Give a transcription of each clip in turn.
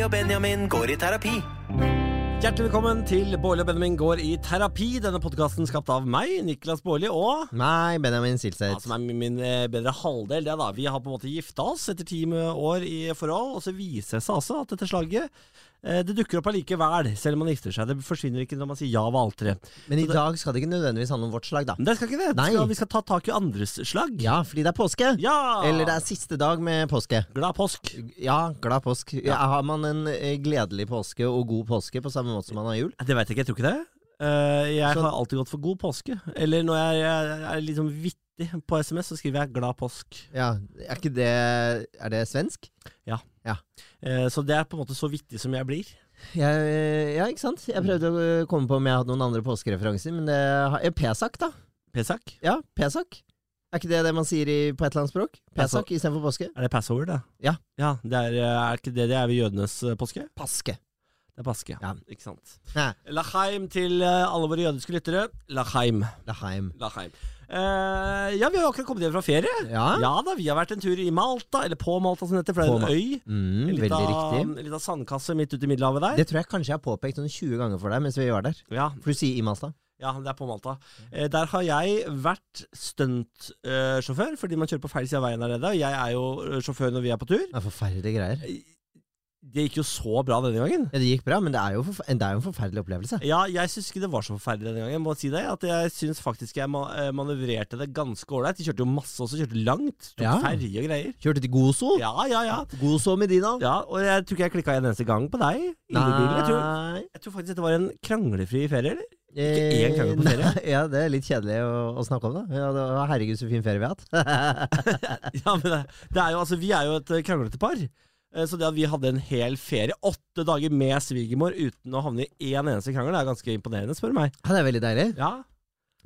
og Benjamin går i terapi. Hjertelig velkommen til Bårli og Benjamin går i terapi. Denne podkasten skapt av meg, Niklas Bårli, og Nei, Benjamin ja, Silseth. som er min eh, bedre halvdel. Det da. Vi har på en måte gifta oss etter ti år i forhold, og så viser det seg altså at dette slaget eh, det dukker opp allikevel, selv om man gifter seg. Det forsvinner ikke når man sier ja ved alteret. Men i dag skal det ikke nødvendigvis handle om vårt slag, da. Men det skal ikke det. Nei. Skal, vi skal ta tak i andres slag. Ja, fordi det er påske. Ja! Eller det er siste dag med påske. Glad påsk. Ja, glad påsk. Ja. har man en eh, gledelig påske og god påske på samme måte som man har jul? Det veit jeg ikke, jeg tror ikke det. Eh, jeg Så- har alltid gått for god påske. Eller når jeg, jeg er liksom vittig på SMS, så skriver jeg 'glad påsk'. Ja, Er ikke det Er det svensk? Eh, så det er på en måte så vittig som jeg blir. Jeg, eh, ja, ikke sant? Jeg prøvde å eh, komme på om jeg hadde noen andre påskereferanser, men det har eh, Pesak, da. Pesak? Ja, Pesak. Er ikke det det man sier i, på et eller annet språk? Altså- Pesak istedenfor påske? Er det passover, det? Ja. ja det er, eh, er ikke det det er ved jødenes eh, påske? Paske. Det er paske. Ja. Ikke sant. Nei. Laheim til eh, alle våre jødiske lyttere. Laheim. Laheim. Laheim. Eh, ja, vi har jo akkurat kommet hjem fra ferie. Ja. Ja da, vi har vært en tur i Malta, eller på Malta som det heter, for det På er Ma- en øy. Mm, En veldig riktig. liten- en liten sandkasse midt ute i Middelhavet der. Det tror jeg kanskje jeg har påpekt sånn 20 ganger for deg mens vi var der. Ja, For du sier i Malta. Ja, det er på Malta. Eh, der har jeg vært stuntsjåfør, fordi man kjører på feil side av veien der nede. Og jeg er jo eh, sjåfør når vi er på tur. Det er forferdelige greier. Det gikk jo så bra denne gangen. Ja, det gikk bra, men det er jo, forfe- det er jo en forferdelig opplevelse. Ja, jeg syns ikke det var så forferdelig denne gangen. Jeg må si det, at jeg syns faktisk jeg ma- eh, manøvrerte det ganske ålreit. De kjørte jo masse også, kjørte langt. Tok Ja. ferje og greier. Kjørte til Gozo. Ja, ja, ja. Gozo Medina. Ja, Og jeg tror ikke jeg klikka en eneste gang på deg. Nei. Jeg tror, Nei. jeg tror faktisk dette var en kranglefri ferie, eller? Eh, én gang på ferie. Nei, ja, det er litt kjedelig å, å snakke om, da. Ja, det var, herregud, så fin ferie vi har hatt. Ja, men det, det er jo, altså, Vi er jo et eh, kranglete par. Eh, Så det at vi hadde en hel ferie, åtte dager med svigermor uten å havne i én eneste krangel, det er ganske imponerende, spør du meg. Ja, det er veldig deilig. Ja,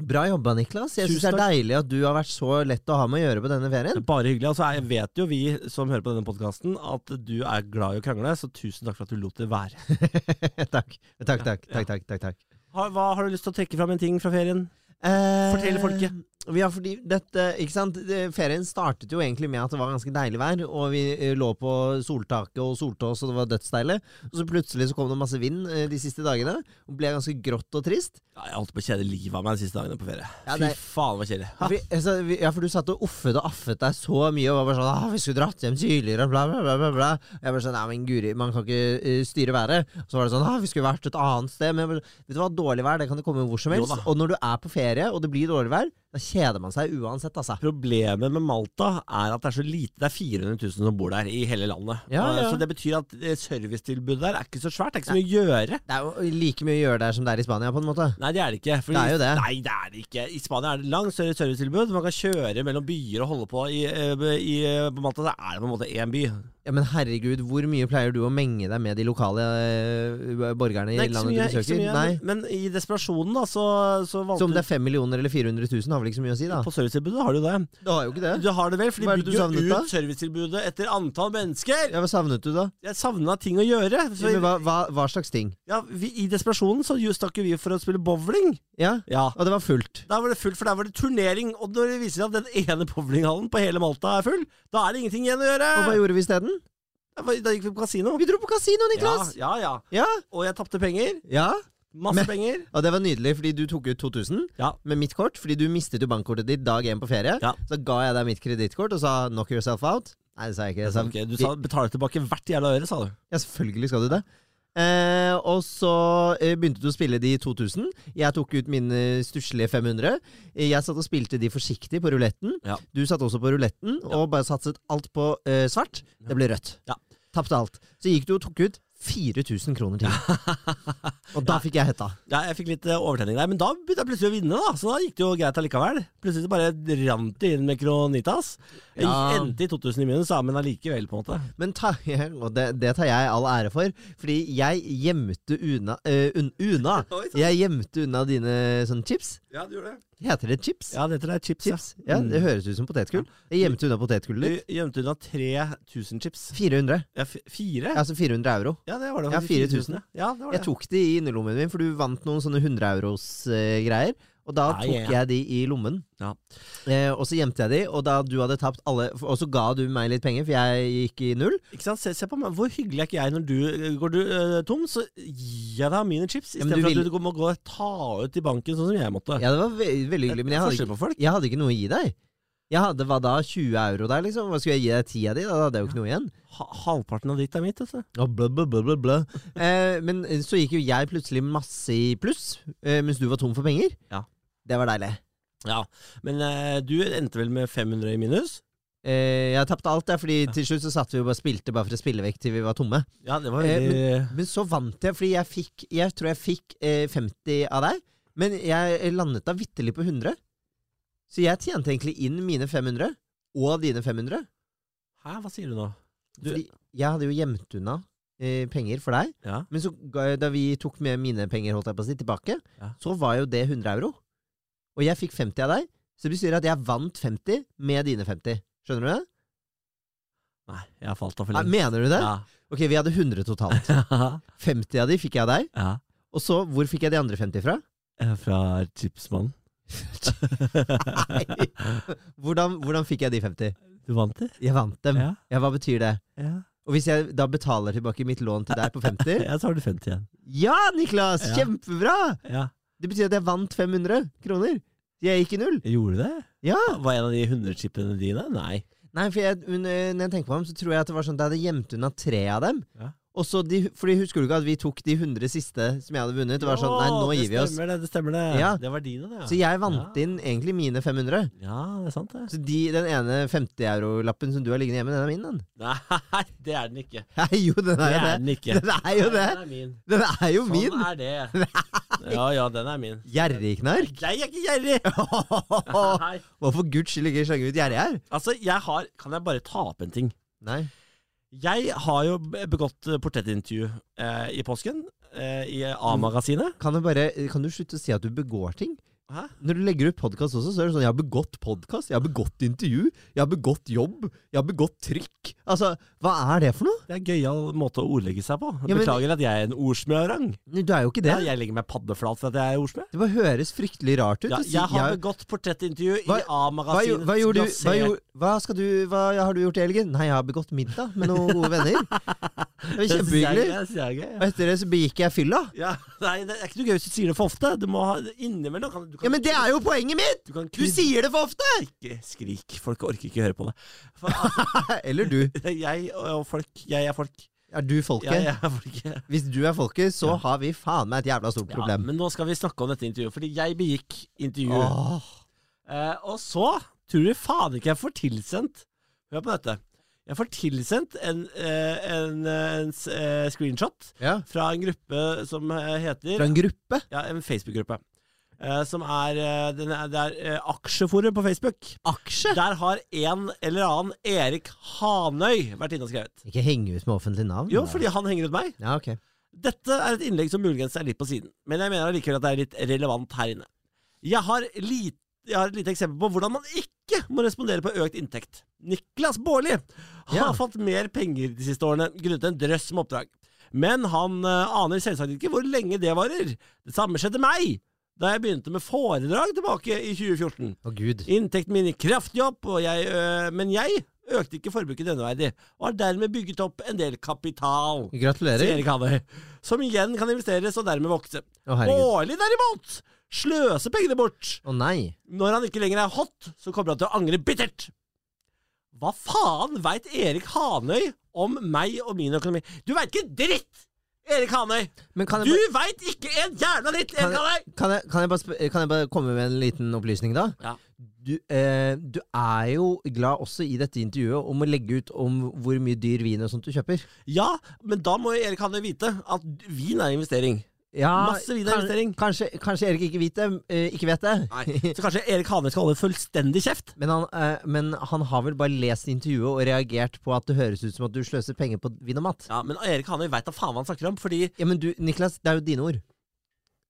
Bra jobba, Niklas. Jeg syns det Tusen er deilig at du har vært så lett å ha med å gjøre på denne det ferien. er Bare hyggelig. Altså, jeg vet jo, vi som hører på denne podkasten, at du er glad i å krangle, så tusen takk for at du lot det være. takk. Takk, takk, takk, takk, takk, takk. Har, hva har du lyst til å trekke fram en ting fra ferien? Eh, Fortell folket. Ja, fordi dette, ikke sant? Det- Ferien startet jo egentlig med at det var ganske deilig vær, og vi eh, lå på soltaket og solte oss, og det var dødsdeilig. Og så plutselig så kom det masse vind eh, de siste dagene, og ble ganske grått og trist. Ja, jeg holdt på å kjede livet av meg de siste dagene på ferie. Fy Ja, det- faen, hva kjedelig. Vi, altså, vi, ja, for du satt og offet og affet deg så mye, og var bare sånn ah, 'Vi skulle dratt hjem tidligere', bla, bla, bla. bla, bla. Og jeg bare sånn 'Nei, men guri, man kan ikke eh, styre været'. Og så var det sånn ah, 'Vi skulle vært et annet sted', men jeg bare, vet du hva, dårlig vær det kan det komme hvor som Jo helst. da. Og når du er på ferie, og det blir dårlig vær, da kjeder man seg uansett, altså. Problemet med Malta er at det er så lite. Det er 400 000 som bor der i hele landet. Ja, Og- ja. Så det betyr at eh, servicetilbudet der er ikke så svært. Det er ikke så mye å gjøre. Det er jo like mye å gjøre der som det er i Spania, på en måte. Nei, det er det ikke. fordi- Det er jo det. Nei, det er det ikke. I Spania er det langt større servicetilbud. Man kan kjøre mellom byer og holde på. I, eh, i, eh, på Malta så er det på en måte én by. Ja, Men herregud, hvor mye pleier du å menge deg med de lokale eh, borgerne i Nei, ikke så landet mye. du Ikke så besøker? mye Nei. men, men i desperasjonen, da, så, så valgte Så om det er fem millioner eller 400 000, har vel ikke så mye å si, da? På servicetilbudet har du det. Du har jo ikke det. Du har det vel, for de Hva er det du bygger jo savnet, ut da? servicetilbudet etter antall mennesker. Ja, Hva savnet du, da? Jeg savna ting å gjøre. Ja, Så, men hva, hva, hva slags ting? ja, vi, I desperasjonen så jo stakk jo vi for å spille bowling. Ja, Ja. Og det var fullt. Der var det fullt, for der var det turnering. Og når det viser seg at den ene bowlinghallen på hele Malta er full, da er det ingenting igjen å gjøre. Og hva gjorde vi isteden? Da- Da gikk vi på kasino. Vi dro på kasino, Niklas! Ja, ja, ja. Ja. Og jeg tapte penger. ja. Masse Men- penger. Og det var nydelig, fordi du tok ut 2000 Ja. med mitt kort. Fordi du mistet jo bankkortet ditt dag én på ferie. Ja. Så ga jeg deg mitt kredittkort og sa 'knock yourself out'. Nei, det sa jeg ikke. Jeg sa, Ok, du sa betale tilbake hvert jævla øre, sa du. Ja, selvfølgelig skal du det. Eh, og så eh, begynte du å spille de 2000. Jeg tok ut mine stusslige 500. Eh, Jeg satt og spilte de forsiktig på ruletten. Ja. Du satt også på ruletten og bare satset alt på eh, svart. Det ble rødt. Ja. Tapte alt. Så gikk du og tok ut 4000 kroner til. og da fikk jeg hetta. Ja, jeg fikk litt eh, overtenning der, men da begynte jeg plutselig å vinne, da. Så da gikk det jo greit allikevel. Plutselig bare rant det inn med Kronitas. Jeg Ja. gikk endte i 2000 i minus, da, men allikevel, på en måte. Men ta, og det, det tar jeg all ære for, fordi jeg gjemte unna, eh, un, unna. Oi, sant. Jeg gjemte unna dine sånne chips. Ja, du gjorde det. Heter det chips? Ja, det heter det chips, Mm. Chips? Ja, det høres ut som potetgull. Jeg gjemte unna Du potetgullet ditt. gjemte unna 3000 chips. 400. Eh. Ja, f- fire? Ja, Altså 400 euro. Ja, det var det. Ja, faktisk. 4000. Ja, det var det. Jeg tok de i innerlommen min, for du vant noen sånne 100 euros-greier. eh, Og da Nei, tok ja. jeg de i lommen, Ja. eh, og så gjemte jeg de, og da du hadde tapt alle Og så ga du meg litt penger, for jeg gikk i null. Ikke sant? Se, se på meg. Hvor hyggelig er ikke jeg når du eh, går du, eh, tom, så gir jeg deg mine chips. Ja, men du Istedenfor vil- at du må gå og ta ut i banken, sånn som jeg måtte. Ja, det var ve veldig hyggelig, men jeg hadde, Forskjell på folk. ikke- jeg hadde ikke noe å gi deg. Jeg hadde hva da, 20 euro der, liksom? Hva skulle jeg gi deg 10 av de? Da hadde jeg jo ikke noe igjen. Ha, halvparten av ditt er mitt. Altså. Og blø, blø, blø, blø, blø. Eh, men så gikk jo jeg plutselig masse i pluss, eh, mens du var tom for penger. Ja. Det var deilig. Men eh, du endte vel med 500 i minus? Eh, jeg tapte alt, der, fordi til slutt så satt vi jo bare og spilte bare for å spille vekk til vi var tomme. Ja, det var Eh, veldig Men så vant jeg, fordi jeg fikk Jeg tror jeg fikk eh, 50 av deg, men jeg landet da vitterlig på 100. Så jeg tjente egentlig inn mine 500, og dine 500. Hæ, hva sier du nå? Du- Fordi jeg hadde jo gjemt unna eh, penger for deg. Ja. Men så ga jeg, da vi tok med mine penger holdt jeg på å si, tilbake, Ja. så var jo det 100 euro. Og jeg fikk 50 av deg, så det betyr at jeg vant 50 med dine 50. Skjønner du det? Nei, jeg har falt av for Nei, lenge. mener du det? Ja. Ok, vi hadde 100 totalt. ja. 50 av de fikk jeg av deg. Og så, hvor fikk jeg de andre 50 fra? Eh, Fra Chipsmannen. Hvordan, hvordan fikk jeg de 50? du vant det? Jeg vant dem. Ja. Ja, hva betyr det? ja. Og hvis jeg da betaler tilbake mitt lån til deg på 50 Ja, så har du 50 igjen. Ja, Niklas! Ja. Kjempebra! Ja. Det betyr at jeg vant 500 kroner. Jeg gikk i null. Gjorde du det? Ja. Var en av de 100-chipene dine? Nei. Nei, for jeg, men, eh, når jeg tenker på dem, så tror jeg at det var sånn at jeg hadde gjemt unna tre av dem. Ja. Og så de, fordi Husker du ikke at vi tok de 100 siste som jeg hadde vunnet? Det var sånn, nei, nå Ja, gir vi oss. Det stemmer det. det stemmer det. Ja. Det var dine, det. Så jeg vant Ja. inn egentlig mine 500. Ja, det er sant, det. Så de, den ene 50-eurolappen som du har liggende hjemme, den er min, den. Nei, det er den ikke. Nei, jo, den Det er jo er det. den ikke. Den er jo det. Den er min. Den er jo Sånn min. er det. Ja, ja, den er min. Gjerrigknark. Nei, jeg er ikke gjerrig! Hva Nei. for guds skyld ikke slenge ut gjerrig her? Altså, jeg har Kan jeg bare ta opp en ting? Nei. Jeg har jo begått eh, portrettintervju eh, i påsken. Eh, I A-magasinet. Kan du, bare, kan du slutte å si at du begår ting? Hæ? Når du legger ut podkast også, så er det sånn 'Jeg har begått podkast. Jeg har begått intervju. Jeg har begått jobb. Jeg har begått trykk.' Altså, hva er det for noe? Det er en gøyal måte å ordlegge seg på. Ja, men- Beklager at jeg er en ordsmørang. Du er jo ikke Ja, det. jeg legger meg paddeflat for at jeg er ordsmed. Det bare høres fryktelig rart ut. Ja, Du sier- jeg har jeg- begått portrettintervju i Hva- hva, gjo- A-magasinet. hva gjorde du? Hva, gjorde- hva, skal du, hva har du gjort i helgen? Nei, jeg har begått middag med noen gode venner. Det var kjempehyggelig. Og kjempehyggelig. etter det så begikk jeg fylla. Ja, nei, det er ikke noe gøy hvis du sier det for ofte. Du må ha innimellom kan, du kan, Ja, men det er jo poenget mitt! du kan Du sier det for ofte! ikke skrik. Folk orker ikke høre på det. For, altså, Eller du. jeg og folk. Jeg er folk. Er du Jeg, folket? jeg er folket. Hvis du er folket, så har vi faen meg et jævla stort Ja, problem. men nå skal vi snakke om dette intervjuet, fordi jeg begikk intervju. Åh. Eh, og så tror du faen ikke jeg får tilsendt Hør på dette. Jeg får tilsendt en, eh, en, eh, en s- eh, screenshot Ja. fra en gruppe som eh, heter Fra en gruppe? Ja, en Facebook-gruppe. Eh, som er, eh, den er Det er eh, aksjeforum på Facebook. Aksje? Der har en eller annen Erik Hanøy vært inne og skrevet. Ikke henge ut med offentlig navn? Jo, da. fordi han henger ut meg. Ja, ok. Dette er et innlegg som muligens er litt på siden, men jeg mener allikevel at det er litt relevant her inne. Jeg har, lit- jeg har et lite eksempel på hvordan man ikke må respondere på økt inntekt. Niklas Baarli har Ja. fått mer penger de siste årene grunnet en drøss med oppdrag. Men han eh, aner selvsagt ikke hvor lenge det varer. Det samme skjedde meg da jeg begynte med foredrag tilbake i 2014. Å, gud. Inntekten min gikk kraftig opp, og jeg, øh, men jeg økte ikke forbruket døgneverdig, og har dermed bygget opp en del kapital. sier Gratulerer. Erik Hanøy, som igjen kan investeres og dermed vokse. Å, herregud. Årlig, derimot, sløser pengene bort. Å, nei. Når han ikke lenger er hot, så kommer han til å angre bittert. Hva faen veit Erik Hanøy om meg og min økonomi? Du veit ikke en dritt, Erik Hanøy! Men kan Du jeg, veit ikke en jævla dritt, Erik Kan Hanøy! ba- kan, jeg, kan, jeg bare, sp- kan jeg bare komme med en liten opplysning, da? Ja. Du, eh, du er jo glad også i dette intervjuet om å legge ut om hvor mye dyr vin og sånt du kjøper. Ja, men da må jo Erik Hanøy vite at vin er investering. Ja, Masse vin er investering. Kanskje, kanskje Erik ikke vet det. eh, ikke vet det. Nei. Så kanskje Erik Hanøy skal holde fullstendig kjeft? Men han, eh, men han har vel bare lest intervjuet og reagert på at det høres ut som at du sløser penger på vin og mat. Ja, men Erik Hanøy veit da faen hva han snakker om, fordi Ja, men du, Niklas, det er jo dine ord.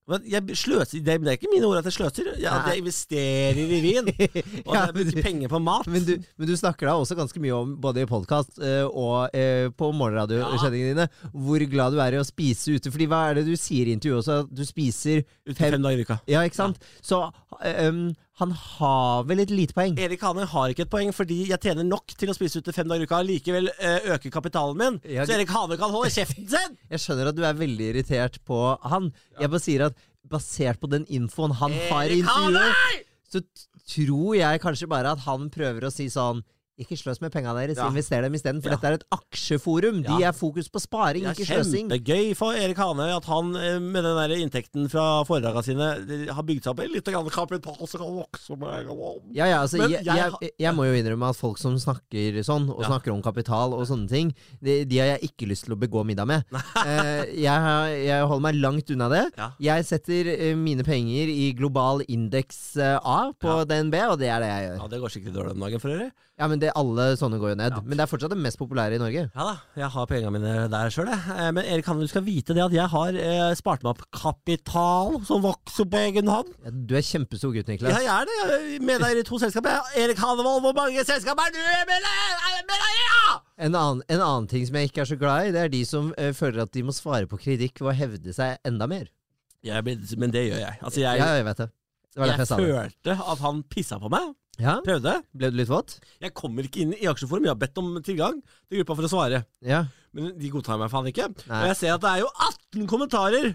Men jeg sløser, det det er ikke mine ord at jeg sløser. Jeg, at jeg investerer i vin. Og at Ja, jeg bruker men- penger på mat. Men du, men du snakker da også ganske mye om, både i podkast og eh, på morgenradiosendingene dine, hvor glad du er i å spise ute. Fordi hva er det du sier i intervjuet også? At du spiser Ute fem- fem dager i uka. Ja, ikke sant? Så eh, um, han har vel et lite poeng. Erik Hane har ikke et poeng fordi jeg tjener nok til å spise ute fem dager i uka. Likevel eh, øker kapitalen min, Ja, så Erik Hane kan holde kjeften sin! Jeg skjønner at du er veldig irritert på han. Jeg bare sier at basert på den infoen han har i Erik intervjuet, så t- tror jeg kanskje bare at han prøver å si sånn ikke sløs med pengene deres, Ja. invester dem isteden. For Ja. dette er et aksjeforum. De Ja. er fokus på sparing, Det er ikke sløsing. kjempegøy for Erik Hane at han eh, med den der inntekten fra foredraga sine eh, har bygd seg opp litt grann kapital som kan vokse med en gang. Ja, ja, altså, Men jeg, jeg jeg, har- jeg, må jo innrømme at folk som snakker sånn, og Ja. snakker om kapital og sånne ting, de, de har jeg ikke lyst til å begå middag med. Eh, jeg, har- jeg holder meg langt unna det. Ja. Jeg setter eh, mine penger i global indeks eh, A på Ja. DNB, og det er det jeg gjør. Ja, det går skikkelig dårlig om dagen for øvrig. Ja, men det, Alle sånne går jo ned. Ja. Men det er fortsatt det mest populære i Norge. Ja da, jeg har pengene mine der sjøl, jeg. Eh, Men Erik Hane, du skal vite det at jeg har eh, spart meg opp kapital som vokser på egen hånd. Ja, Du er kjempestor gutt, Ja, Niklas. jeg er det. Jeg er medeier i to selskaper. Jeg er Erik Hanevold, hvor mange selskaper er du medeier medeier i? Ja! En, annen, en annen ting som jeg ikke er så glad i, det er de som eh, føler at de må svare på kritikk ved å hevde seg enda mer. Jeg blir- Men det gjør jeg. Altså, jeg, ja, jeg vet det. Det var jeg, derfor jeg sa det. følte at han pissa på meg. Ja? Prøvde. Ble du litt våt? Jeg kommer ikke inn i aksjeforum. Jeg har bedt om tilgang til gruppa for å svare. Ja. Men de godtar meg faen ikke. Nei. Og jeg ser at det er jo 18 kommentarer!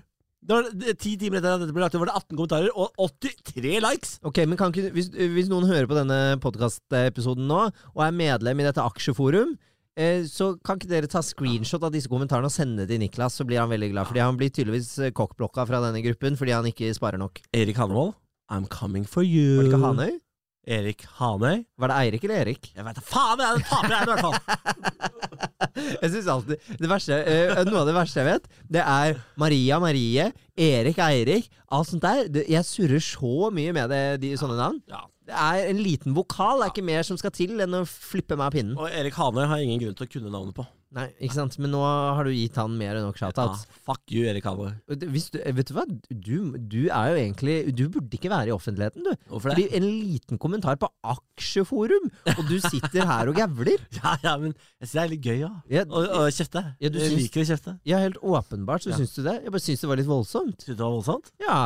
Det var det- Ti timer etter at dette ble lagt ut, var det 18 kommentarer og 83 likes! Ok, men kan ikke, hvis, hvis noen hører på denne podkastepisoden nå, og er medlem i dette aksjeforum, eh, så kan ikke dere ta screenshot av disse kommentarene og sende til Niklas, så blir han veldig glad. Fordi han blir tydeligvis eh, kokkblokka fra denne gruppen fordi han ikke sparer nok. Erik Hanevold, I'm coming for you. Var det ikke Hanøy? Erik Hanøy. Var det Eirik eller Erik? Jeg veit da faen! Jeg er en taper her, i hvert fall. Jeg synes alltid det verste, eh, Noe av det verste jeg vet, det er Maria Marie, Erik Eirik, alt sånt der. Det, jeg surrer så mye med det, de sånne navn. Ja. Det er en liten vokal, det er ikke mer som skal til enn å flippe meg av pinnen. Og Erik Hanøy har jeg ingen grunn til å kunne navnet på. Nei, ikke sant? Men nå har du gitt han mer enn nok shoutouts. Ja, fuck you, Erik Hanøy. Og det- Hvis du, vet du hva? Du, du er jo egentlig Du burde ikke være i offentligheten, du. Hvorfor det? Fordi en liten kommentar på aksjeforum, og du sitter her og gævler. Ja, ja, men jeg synes det er litt gøy, ja. Jeg, Å å kjefte. Ja, du jeg syns- liker å kjefte. ja, helt åpenbart så Ja. syns du det. Jeg bare syns det var litt voldsomt. Syns du det var voldsomt? Ja.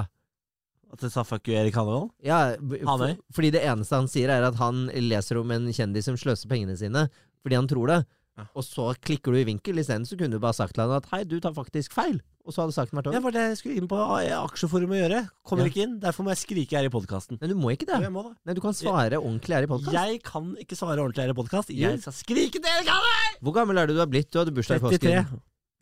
At jeg sa fuck you, Erik Hanøy? ja b- Han for, er. fordi det eneste han sier, er at han leser om en kjendis som sløser pengene sine fordi han tror det. Ja. Og så klikker du i vinkel. Isteden så kunne du bare sagt til han at hei, du tar faktisk feil. Og så hadde saken vært Det over. var det jeg skulle inn på A- aksjeforumet å gjøre. Kommer Ja. ikke inn. Derfor må jeg skrike her i podkasten. Men du må ikke det. Jeg må det. Nei, du kan svare ordentlig her i podkast. Jeg kan ikke svare ordentlig her i podkast. Jo. Jeg skal skrike til Erik Hanøy! Hvor gammel er du du har blitt? Du hadde bursdag i 33. påsken. Jeg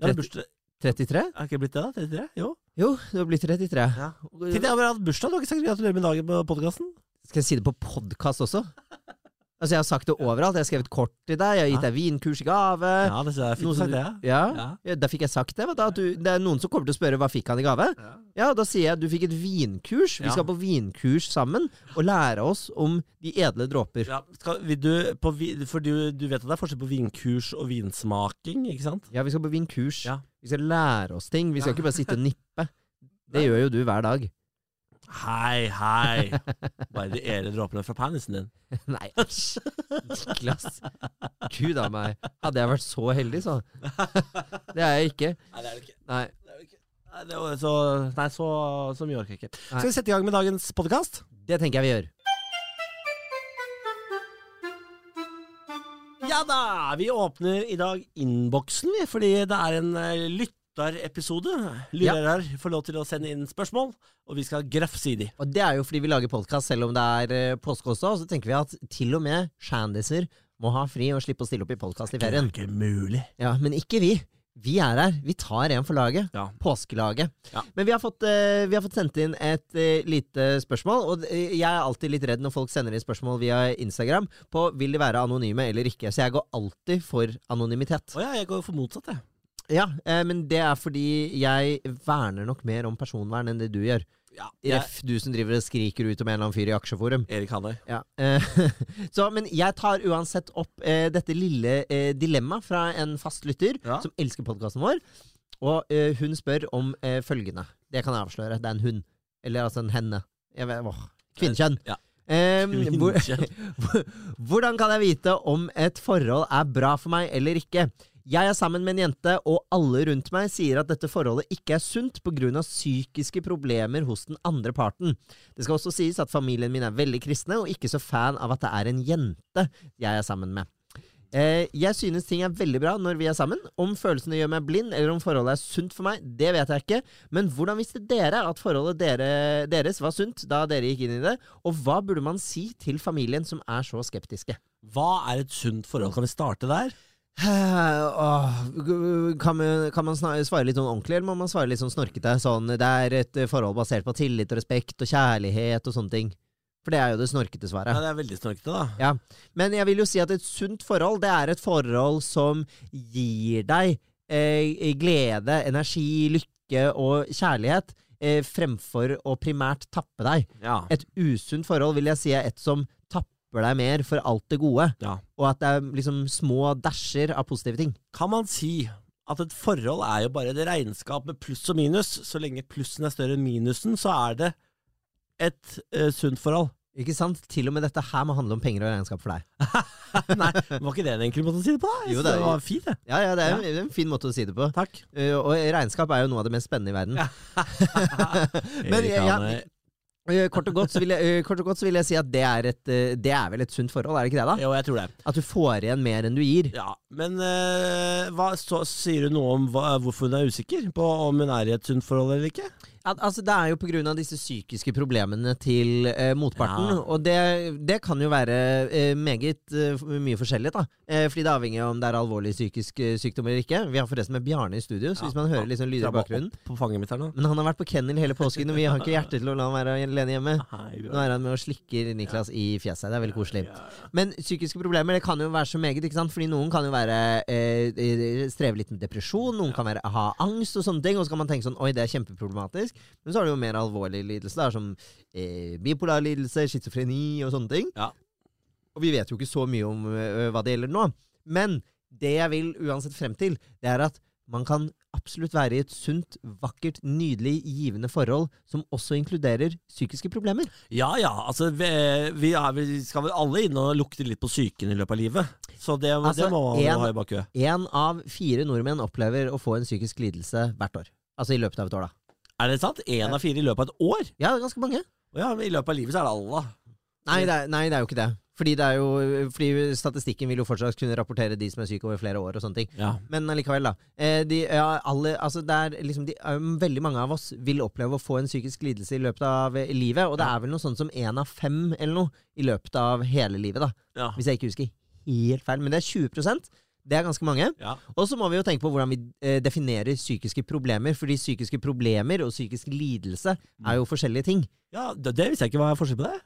hadde bursdag. 33? Har ikke jeg blitt det, da? 33? Jo. Jo, du har blitt 33. Ja. Titt, jeg har bare hatt bursdag. Du har ikke sagt gratulerer med dagen på podkasten? Skal jeg si det på podkast også? Altså, Jeg har sagt det overalt. Jeg har skrevet kort til deg, jeg har gitt deg vinkurs i gave. Ja, det synes jeg er noe fint som sagt, du- det. ja. Ja. Ja. Ja, Da fikk jeg sagt det. vet du, at du, det er Noen som kommer til å spørre hva fikk han i gave. Ja. Ja, Da sier jeg at du fikk et vinkurs. Vi Ja. skal på vinkurs sammen og lære oss om de edle dråper. Ja, skal, vil du, på, vi- for du, du vet at det er forskjell på vinkurs og vinsmaking, ikke sant? Ja, vi skal på vinkurs. Ja. Vi skal lære oss ting. Vi skal Ja. ikke bare sitte og nippe. Det gjør jo du hver dag. Hei, hei! Bare de ene dråpene fra penisen din. Nei, æsj. Niklas. Gud a meg. Hadde jeg vært så heldig, så. Det er jeg ikke. Nei, det er det ikke. Nei. Det er det ikke. Nei, det var så, nei så, så mye orker jeg ikke. Nei. Skal vi sette i gang med dagens podkast? Det tenker jeg vi gjør. Ja da! Vi åpner i dag innboksen, vi, fordi det er en eh, lytterepisode. Lyttere får lov til å sende inn spørsmål, og vi skal grafse i de. Og det er jo fordi vi lager podkast selv om det er eh, påske også, og så tenker vi at til og med kjendiser må ha fri og slippe å stille opp i podkast i Det er ferien. ikke mulig. Ja, Men ikke vi. Vi er her. Vi tar en for laget. Ja. Påskelaget. Ja. Men vi har, fått, eh, vi har fått sendt inn et eh, lite spørsmål, og eh, jeg er alltid litt redd når folk sender inn spørsmål via Instagram på vil de være anonyme eller ikke, så jeg går alltid for anonymitet. Å ja, jeg går for motsatt, jeg. Ja, eh, men det er fordi jeg verner nok mer om personvern enn det du gjør. Ja, jeg, Ref, du som driver og skriker ut om en eller annen fyr i aksjeforum. Erik Hanøy. Ja. eh, Så, men jeg tar uansett opp eh, dette lille eh, dilemmaet fra en fast lytter Ja. som elsker podkasten vår. Og eh, hun spør om eh, følgende. Det kan jeg avsløre. Det er en hun. Eller altså en henne. Jeg vet, åh, kvinnekjønn. Ja. Em, hvor, Kvinnekjønn. hvordan kan jeg vite om et forhold er bra for meg eller ikke? Jeg er sammen med en jente, og alle rundt meg sier at dette forholdet ikke er sunt pga. psykiske problemer hos den andre parten. Det skal også sies at familien min er veldig kristne, og ikke så fan av at det er en jente jeg er sammen med. Eh, jeg synes ting er veldig bra når vi er sammen. Om følelsene gjør meg blind, eller om forholdet er sunt for meg, det vet jeg ikke. Men hvordan visste dere at forholdet dere, deres var sunt da dere gikk inn i det? Og hva burde man si til familien som er så skeptiske? Hva er et sunt forhold? Kan vi starte der? kan man, kan man sna- svare litt sånn ordentlig, eller må man svare litt sånn snorkete? Sånn, det er et eh, forhold basert på tillit og respekt og kjærlighet og sånne ting. For det er jo det snorkete svaret. Ja, det er veldig snorkete, da. Ja, Men jeg vil jo si at et sunt forhold, det er et forhold som gir deg eh, glede, energi, lykke og kjærlighet, eh, fremfor å primært tappe deg. Ja. Et usunt forhold vil jeg si er et som tapper deg mer for alt det gode, Ja. og at det er liksom små dasjer av positive ting. Kan man si at et forhold er jo bare et regnskap med pluss og minus? Så lenge plussen er større enn minusen, så er det et eh, sunt forhold. Ikke sant? Til og med dette her må handle om penger og regnskap for deg. Nei, var ikke det en enkel måte å si det på? da? Jeg Jo, synes det er- det var fint, det. Ja, ja, det er en, en fin måte å si det på. Takk. Eh, og regnskap er jo noe av det mest spennende i verden. Men Erik jeg- jeg- Ane- Eh, Kort og, godt så vil jeg, eh, kort og godt så vil jeg si at det er, et, eh, det er vel et sunt forhold, er det ikke det? da? Jo, jeg tror det. At du får igjen mer enn du gir. Ja, men eh, hva, så, sier du noe om hva, hvorfor hun er usikker på om hun er i et sunt forhold eller ikke? At, altså, det er jo pga. disse psykiske problemene til eh, motparten. Ja. Og det, det kan jo være eh, meget eh, mye forskjellig, da. Eh, fordi det avhenger av om det er alvorlig psykisk eh, sykdom eller ikke. Vi har forresten med Bjarne i studio, Ja, så hvis man hører han litt sånn lyder i krabba opp bakgrunnen På fanget mitt her nå. Men han har vært på kennel hele påsken, og vi har ikke hjerte til å la han være alene hjemme. Nå er han med og slikker Niklas i fjeset. Det er veldig koselig. Men psykiske problemer det kan jo være så meget. ikke sant? Fordi noen kan jo være eh, eh, streve litt med depresjon, noen kan være, ha angst og sånne ting. Og så kan man tenke sånn Oi, det er kjempeproblematisk. Men så har du jo mer alvorlige lidelser, da, som eh, bipolar lidelse, schizofreni og sånne ting. Ja. Og vi vet jo ikke så mye om eh, hva det gjelder nå. Men det jeg vil uansett frem til, det er at man kan absolutt være i et sunt, vakkert, nydelig, givende forhold som også inkluderer psykiske problemer. Ja ja, altså vi, vi, er, vi skal vel alle inn og lukte litt på psyken i løpet av livet. Så det, Altså, det må man en- jo ha i bakhuet. Én av fire nordmenn opplever å få en psykisk lidelse hvert år. Altså i løpet av et år, da. Er det sant? Én av fire i løpet av et år? Ja, det er ganske mange. Å Ja, men I løpet av livet så er det alle. Nei det, er, nei, det er jo ikke det. Fordi, det er jo, fordi statistikken vil jo fortsatt kunne rapportere de som er syke over flere år og sånne ting. Ja. Men allikevel, da. Eh, de, ja, alle, altså det er liksom de, um, veldig mange av oss vil oppleve å få en psykisk lidelse i løpet av eh, livet, og det er vel noe sånt som én av fem eller noe i løpet av hele livet, da. ja. Hvis jeg ikke husker helt feil. Men det er 20 det er ganske mange. Ja. Og så må vi jo tenke på hvordan vi eh, definerer psykiske problemer, fordi psykiske problemer og psykisk lidelse er jo forskjellige ting. ja det, det visste jeg ikke hva er forskjell på det.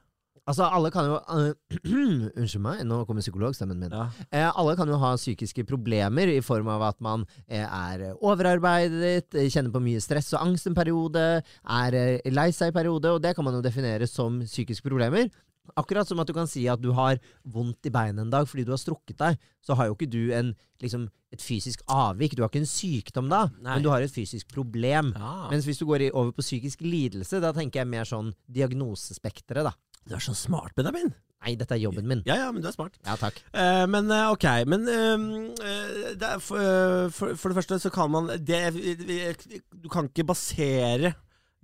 Altså, alle kan jo eh, Unnskyld meg, nå kommer psykologstemmen min. Ja. Eh, alle kan jo ha psykiske problemer i form av at man eh, er overarbeidet, eh, kjenner på mye stress og angst en periode, er eh, lei seg i periode, og det kan man jo definere som psykiske problemer. Akkurat som at du kan si at du har vondt i beinet en dag fordi du har strukket deg, så har jo ikke du en, liksom, et fysisk avvik. Du har ikke en sykdom da, Nei. men du har et fysisk problem. Ja. Mens hvis du går i, over på psykisk lidelse, da tenker jeg mer sånn diagnosespekteret, da. Du er så smart, Benjamin. Nei, dette er jobben min. Ja ja, men du er smart. Ja, takk. Eh, men eh, ok, men eh, eh, det er, for, eh, for, for det første så kan man det, vi- Du kan ikke basere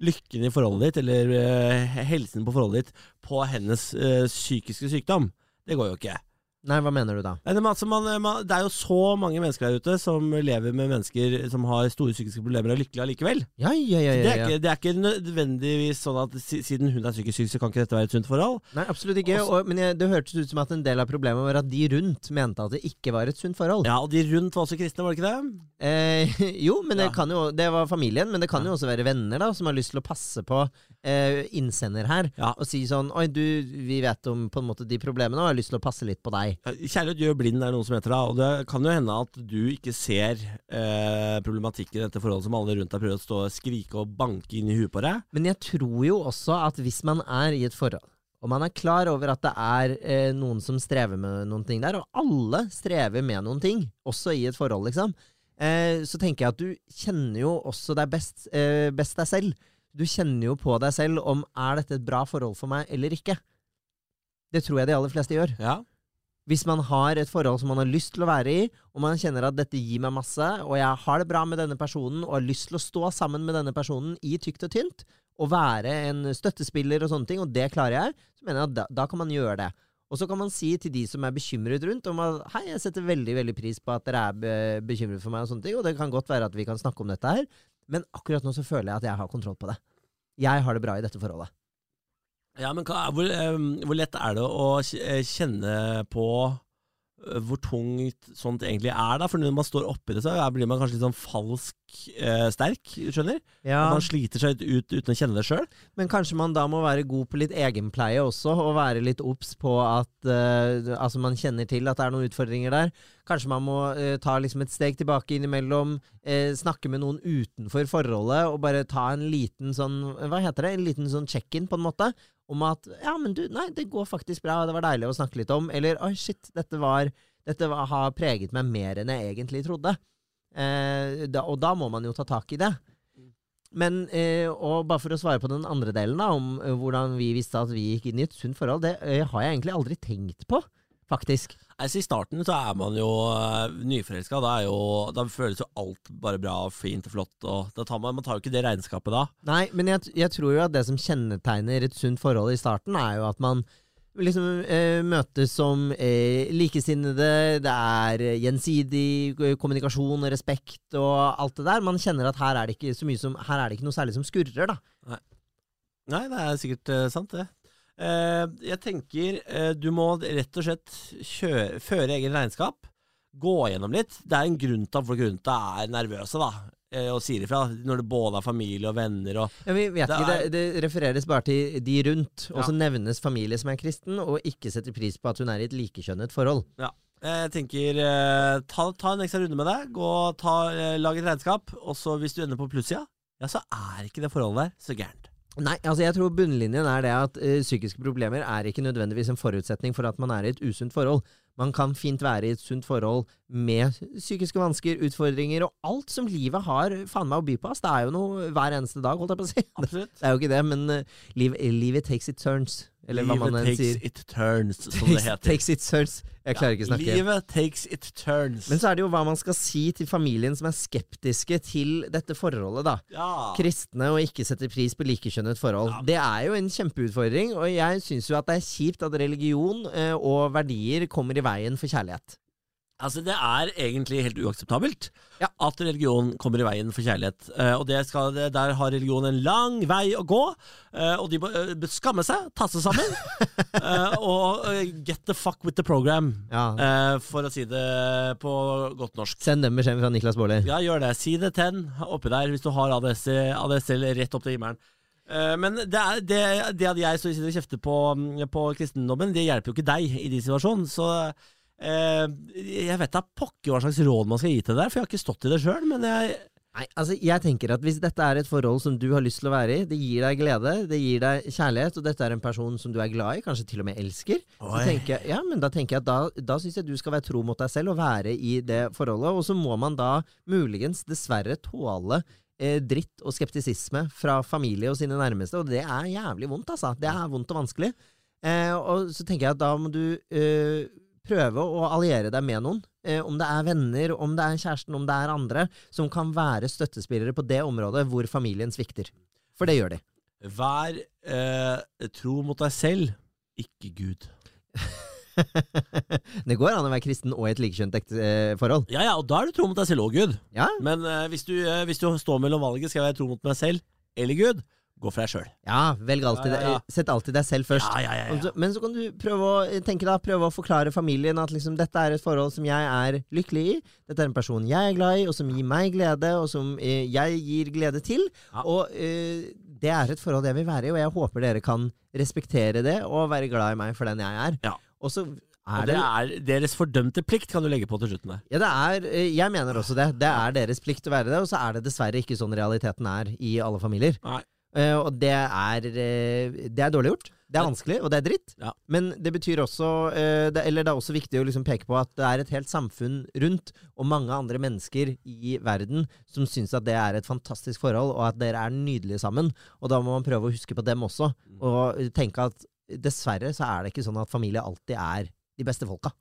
lykken i forholdet ditt, eller eh, helsen på forholdet ditt, på hennes eh, psykiske sykdom. Det går jo ikke. Nei, hva mener du da? Nei, men altså, man, man, det er jo så mange mennesker der ute som lever med mennesker som har store psykiske problemer og er lykkelige allikevel. Ja, ja, Det ja, ja, er, ja. ikke, det er ikke nødvendigvis sånn at si- siden hun er psykisk syk, så kan ikke dette være et sunt forhold. Nei, absolutt ikke. Også- Og, men jeg, det hørtes ut som at en del av problemet var at de rundt mente at det ikke var et sunt forhold. Ja, Og de rundt var også kristne, var det ikke det? Eh, jo, men det Ja. kan jo Det var familien, men det kan jo også være venner da som har lyst til å passe på eh, innsender her. Ja. Og si sånn Oi, du, vi vet om på en måte de problemene, og jeg har lyst til å passe litt på deg. Kjærlighet gjør blind, er det noen som heter det. Og det kan jo hende at du ikke ser eh, problematikken i dette forholdet som alle rundt deg prøver å stå og skrike og banke inn i huet på deg. Men jeg tror jo også at hvis man er i et forhold, og man er klar over at det er eh, noen som strever med noen ting der, og alle strever med noen ting, også i et forhold, liksom, eh, så tenker jeg at du kjenner jo også deg best, eh, best deg selv. Du kjenner jo på deg selv om er dette et bra forhold for meg eller ikke. Det tror jeg de aller fleste gjør. Ja. Hvis man har et forhold som man har lyst til å være i, og man kjenner at dette gir meg masse, og jeg har det bra med denne personen, og har lyst til å stå sammen med denne personen i tykt og tynt, og være en støttespiller og sånne ting, og det klarer jeg, så mener jeg at da, da kan man gjøre det. Og så kan man si til de som er bekymret rundt om at hei, jeg setter veldig veldig pris på at dere er be- bekymret for meg, og sånne ting, og det kan godt være at vi kan snakke om dette her, men akkurat nå så føler jeg at jeg har kontroll på det. Jeg har det bra i dette forholdet. Ja, men hva, hvor, eh, hvor lett er det å kj- eh, kjenne på eh, hvor tungt sånt egentlig er, da? For når man står oppi det, så er- blir man kanskje litt sånn falsk eh, sterk, skjønner? Ja. Man sliter seg litt ut uten å kjenne det sjøl. Men kanskje man da må være god på litt egenpleie også, og være litt obs på at eh, altså man kjenner til at det er noen utfordringer der. Kanskje man må eh, ta liksom et steg tilbake innimellom, eh, snakke med noen utenfor forholdet, og bare ta en liten sånn Hva heter det? En liten sånn check-in, på en måte. Om at 'ja, men du, nei, det går faktisk bra, det var deilig å snakke litt om', eller 'oi, shit, dette var dette var- har preget meg mer enn jeg egentlig trodde'. Eh, da, og da må man jo ta tak i det. Men eh, og bare for å svare på den andre delen, da, om eh, hvordan vi visste at vi gikk inn i et sunt forhold, det eh, har jeg egentlig aldri tenkt på, faktisk. Altså, I starten så er man jo eh, nyforelska. Da, er jo- da føles jo alt bare bra og fint og flott. Og da tar man, man tar jo ikke det regnskapet da. Nei, men jeg, t- jeg tror jo at det som kjennetegner et sunt forhold i starten, er jo at man liksom eh, møtes som eh, likesinnede, det er eh, gjensidig eh, kommunikasjon og respekt og alt det der. Man kjenner at her er det ikke så mye som, her er det ikke noe særlig som skurrer, da. Nei, det er sikkert eh, sant, det. Eh, jeg tenker eh, du må rett og slett kjøre, føre egen regnskap. Gå gjennom litt. Det er en grunn til at folk rundt deg er nervøse da, eh, og sier ifra. Når det både er familie og venner og Ja, vi vet Det ikke, det, det refereres bare til de rundt, og Ja. så nevnes familie som er kristen, og ikke setter pris på at hun er i et likekjønnet forhold. Eh, Jeg tenker eh, ta, ta en ekstra runde med deg. Gå, ta, eh, lag et regnskap. Og så hvis du ender på plussida, ja, så er ikke det forholdet der så gærent. Nei, altså jeg tror bunnlinjen er det at eh, psykiske problemer er ikke nødvendigvis en forutsetning for at man er i et usunt forhold. Man kan fint være i et sunt forhold med psykiske vansker, utfordringer og alt som livet har faen meg å by på. ass. Det er jo noe hver eneste dag, holdt jeg på å si. Absolutt. Det er jo ikke det, men eh, liv, livet takes its turns. Eller hva man Livet enn takes sier. it turns, som det heter. takes its turns. Jeg klarer ikke å snakke. Livet takes it turns. Men så er det jo hva man skal si til familien som er skeptiske til dette forholdet, da. ja. Kristne og ikke setter pris på likekjønnet forhold. Det er jo en kjempeutfordring, og jeg syns jo at det er kjipt at religion eh, og verdier kommer i veien for kjærlighet. Altså, det er egentlig helt uakseptabelt Ja. at religion kommer i veien for kjærlighet. Eh, og det skal, det- der har religion en lang vei å gå, eh, og de må eh, skamme seg, ta seg sammen, eh, og eh, get the fuck with the program, Ja. eh, for å si det på godt norsk. Send den beskjeden fra Niklas Baarli. Ja, gjør det. Si det til den oppi der hvis du har ADS, ADSL rett opp til himmelen. Eh, Men det, er, det, det at jeg så sitter og kjefter på, på kristendommen, det hjelper jo ikke deg i din situasjon. Så eh, jeg vet da pokker hva slags råd man skal gi til det der, for jeg har ikke stått i det sjøl. Men jeg Nei, altså jeg tenker at Hvis dette er et forhold som du har lyst til å være i, det gir deg glede, det gir deg kjærlighet, og dette er en person som du er glad i, kanskje til og med elsker, så Oi. tenker jeg, ja, men da tenker jeg at da, da syns jeg du skal være tro mot deg selv og være i det forholdet. Og så må man da muligens dessverre tåle eh, dritt og skeptisisme fra familie og sine nærmeste, og det er jævlig vondt, altså. Det er vondt og vanskelig. Eh, og så tenker jeg at da må du eh, prøve å alliere deg med noen. Eh, om det er venner, om det er kjæresten, om det er andre, som kan være støttespillere på det området hvor familien svikter. For det gjør de. Vær eh, tro mot deg selv, ikke Gud. det går an å være kristen og i et likekjønt ekte- eh, forhold. Ja ja, og da er du tro mot deg selv og Gud. Ja, Men eh, hvis, du, eh, hvis du står mellom valget, skal jeg være tro mot meg selv eller Gud, gå for deg sjøl. ja velg alltid Ja, ja, ja. deg- Sett alltid deg selv først. Ja, ja, ja, Og ja. så- Men så kan du prøve å, eh, tenke da, prøve å forklare familien at liksom, dette er et forhold som jeg er lykkelig i. Dette er en person jeg er glad i, og som gir meg glede, og som eh, jeg gir glede til. Ja. Og eh, det er et forhold jeg vil være i, og jeg håper dere kan respektere det og være glad i meg for den jeg er. Ja. Og så er Og det, det er deres fordømte plikt, kan du legge på til slutten der. ja, det er, eh, jeg mener også det. Det er deres plikt å være det, og så er det dessverre ikke sånn realiteten er i alle familier. Nei. Eh, og det er, eh, det er dårlig gjort. Det er vanskelig, og det er dritt. Ja. Men det betyr også eh, det, Eller det er også viktig å liksom peke på at det er et helt samfunn rundt, og mange andre mennesker i verden, som syns at det er et fantastisk forhold, og at dere er nydelige sammen. Og da må man prøve å huske på dem også, og tenke at dessverre så er det ikke sånn at familie alltid er de beste folka.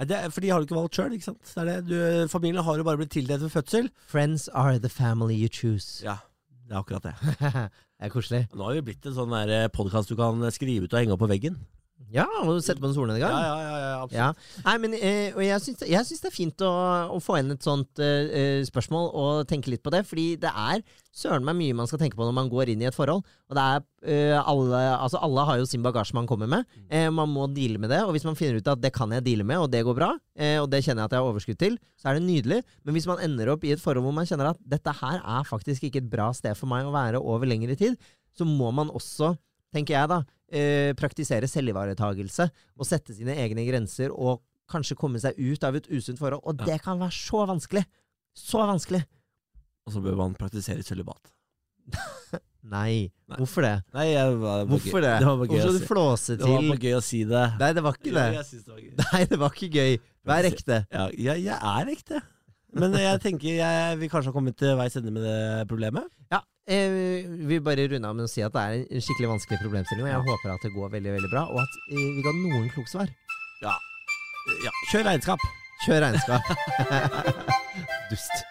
Nei, Det er, for de har du ikke valgt sjøl, ikke sant? Det er det. Du, familien har jo bare blitt tildelt ved fødsel. Friends are the family you choose. Ja, det er akkurat det. det er koselig. Nå har vi blitt en sånn podkast du kan eh, skrive ut og henge opp på veggen. Ja, må du sette på den solnedgang. ja, ja, ja, absolutt. Ja. Nei, men eh, og jeg syns, jeg syns det er fint å, å få inn et sånt eh, eh, spørsmål og tenke litt på det. Fordi det er søren meg mye man skal tenke på når man går inn i et forhold. Og det er eh, alle, altså alle har jo sin bagasje man kommer med. Eh, man må deale med det. Og hvis man finner ut at det kan jeg deale med, og det går bra, eh, og det kjenner jeg at jeg har overskudd til, så er det nydelig. Men hvis man ender opp i et forhold hvor man kjenner at dette her er faktisk ikke et bra sted for meg å være over lengre tid, så må man også, tenker jeg da, eh, praktisere selvivaretagelse og sette sine egne grenser og kanskje komme seg ut av et usunt forhold. Og Ja. det kan være så vanskelig! Så vanskelig! Og så bør man praktisere sølibat. Nei, Nei. hvorfor det? Nei, jeg, det var bare Hvorfor gøy. det? Det var bare gøy, å Hvorfor skal du si. flåse det var til? bare gøy å si det. Nei, det var ikke Ja, det. jeg synes det var gøy. Nei, det var ikke gøy. Vær ekte. Ja, ja, jeg er ekte. Men eh, jeg tenker jeg vil kanskje ha kommet til veis ende med det problemet. Ja, eh, vi bare runde av med å si at det er en skikkelig vanskelig problemstilling, og jeg håper at det går veldig, veldig bra, og at eh, vi ga noen kloke svar. Ja. Kjør regnskap. Kjør regnskap. Dust.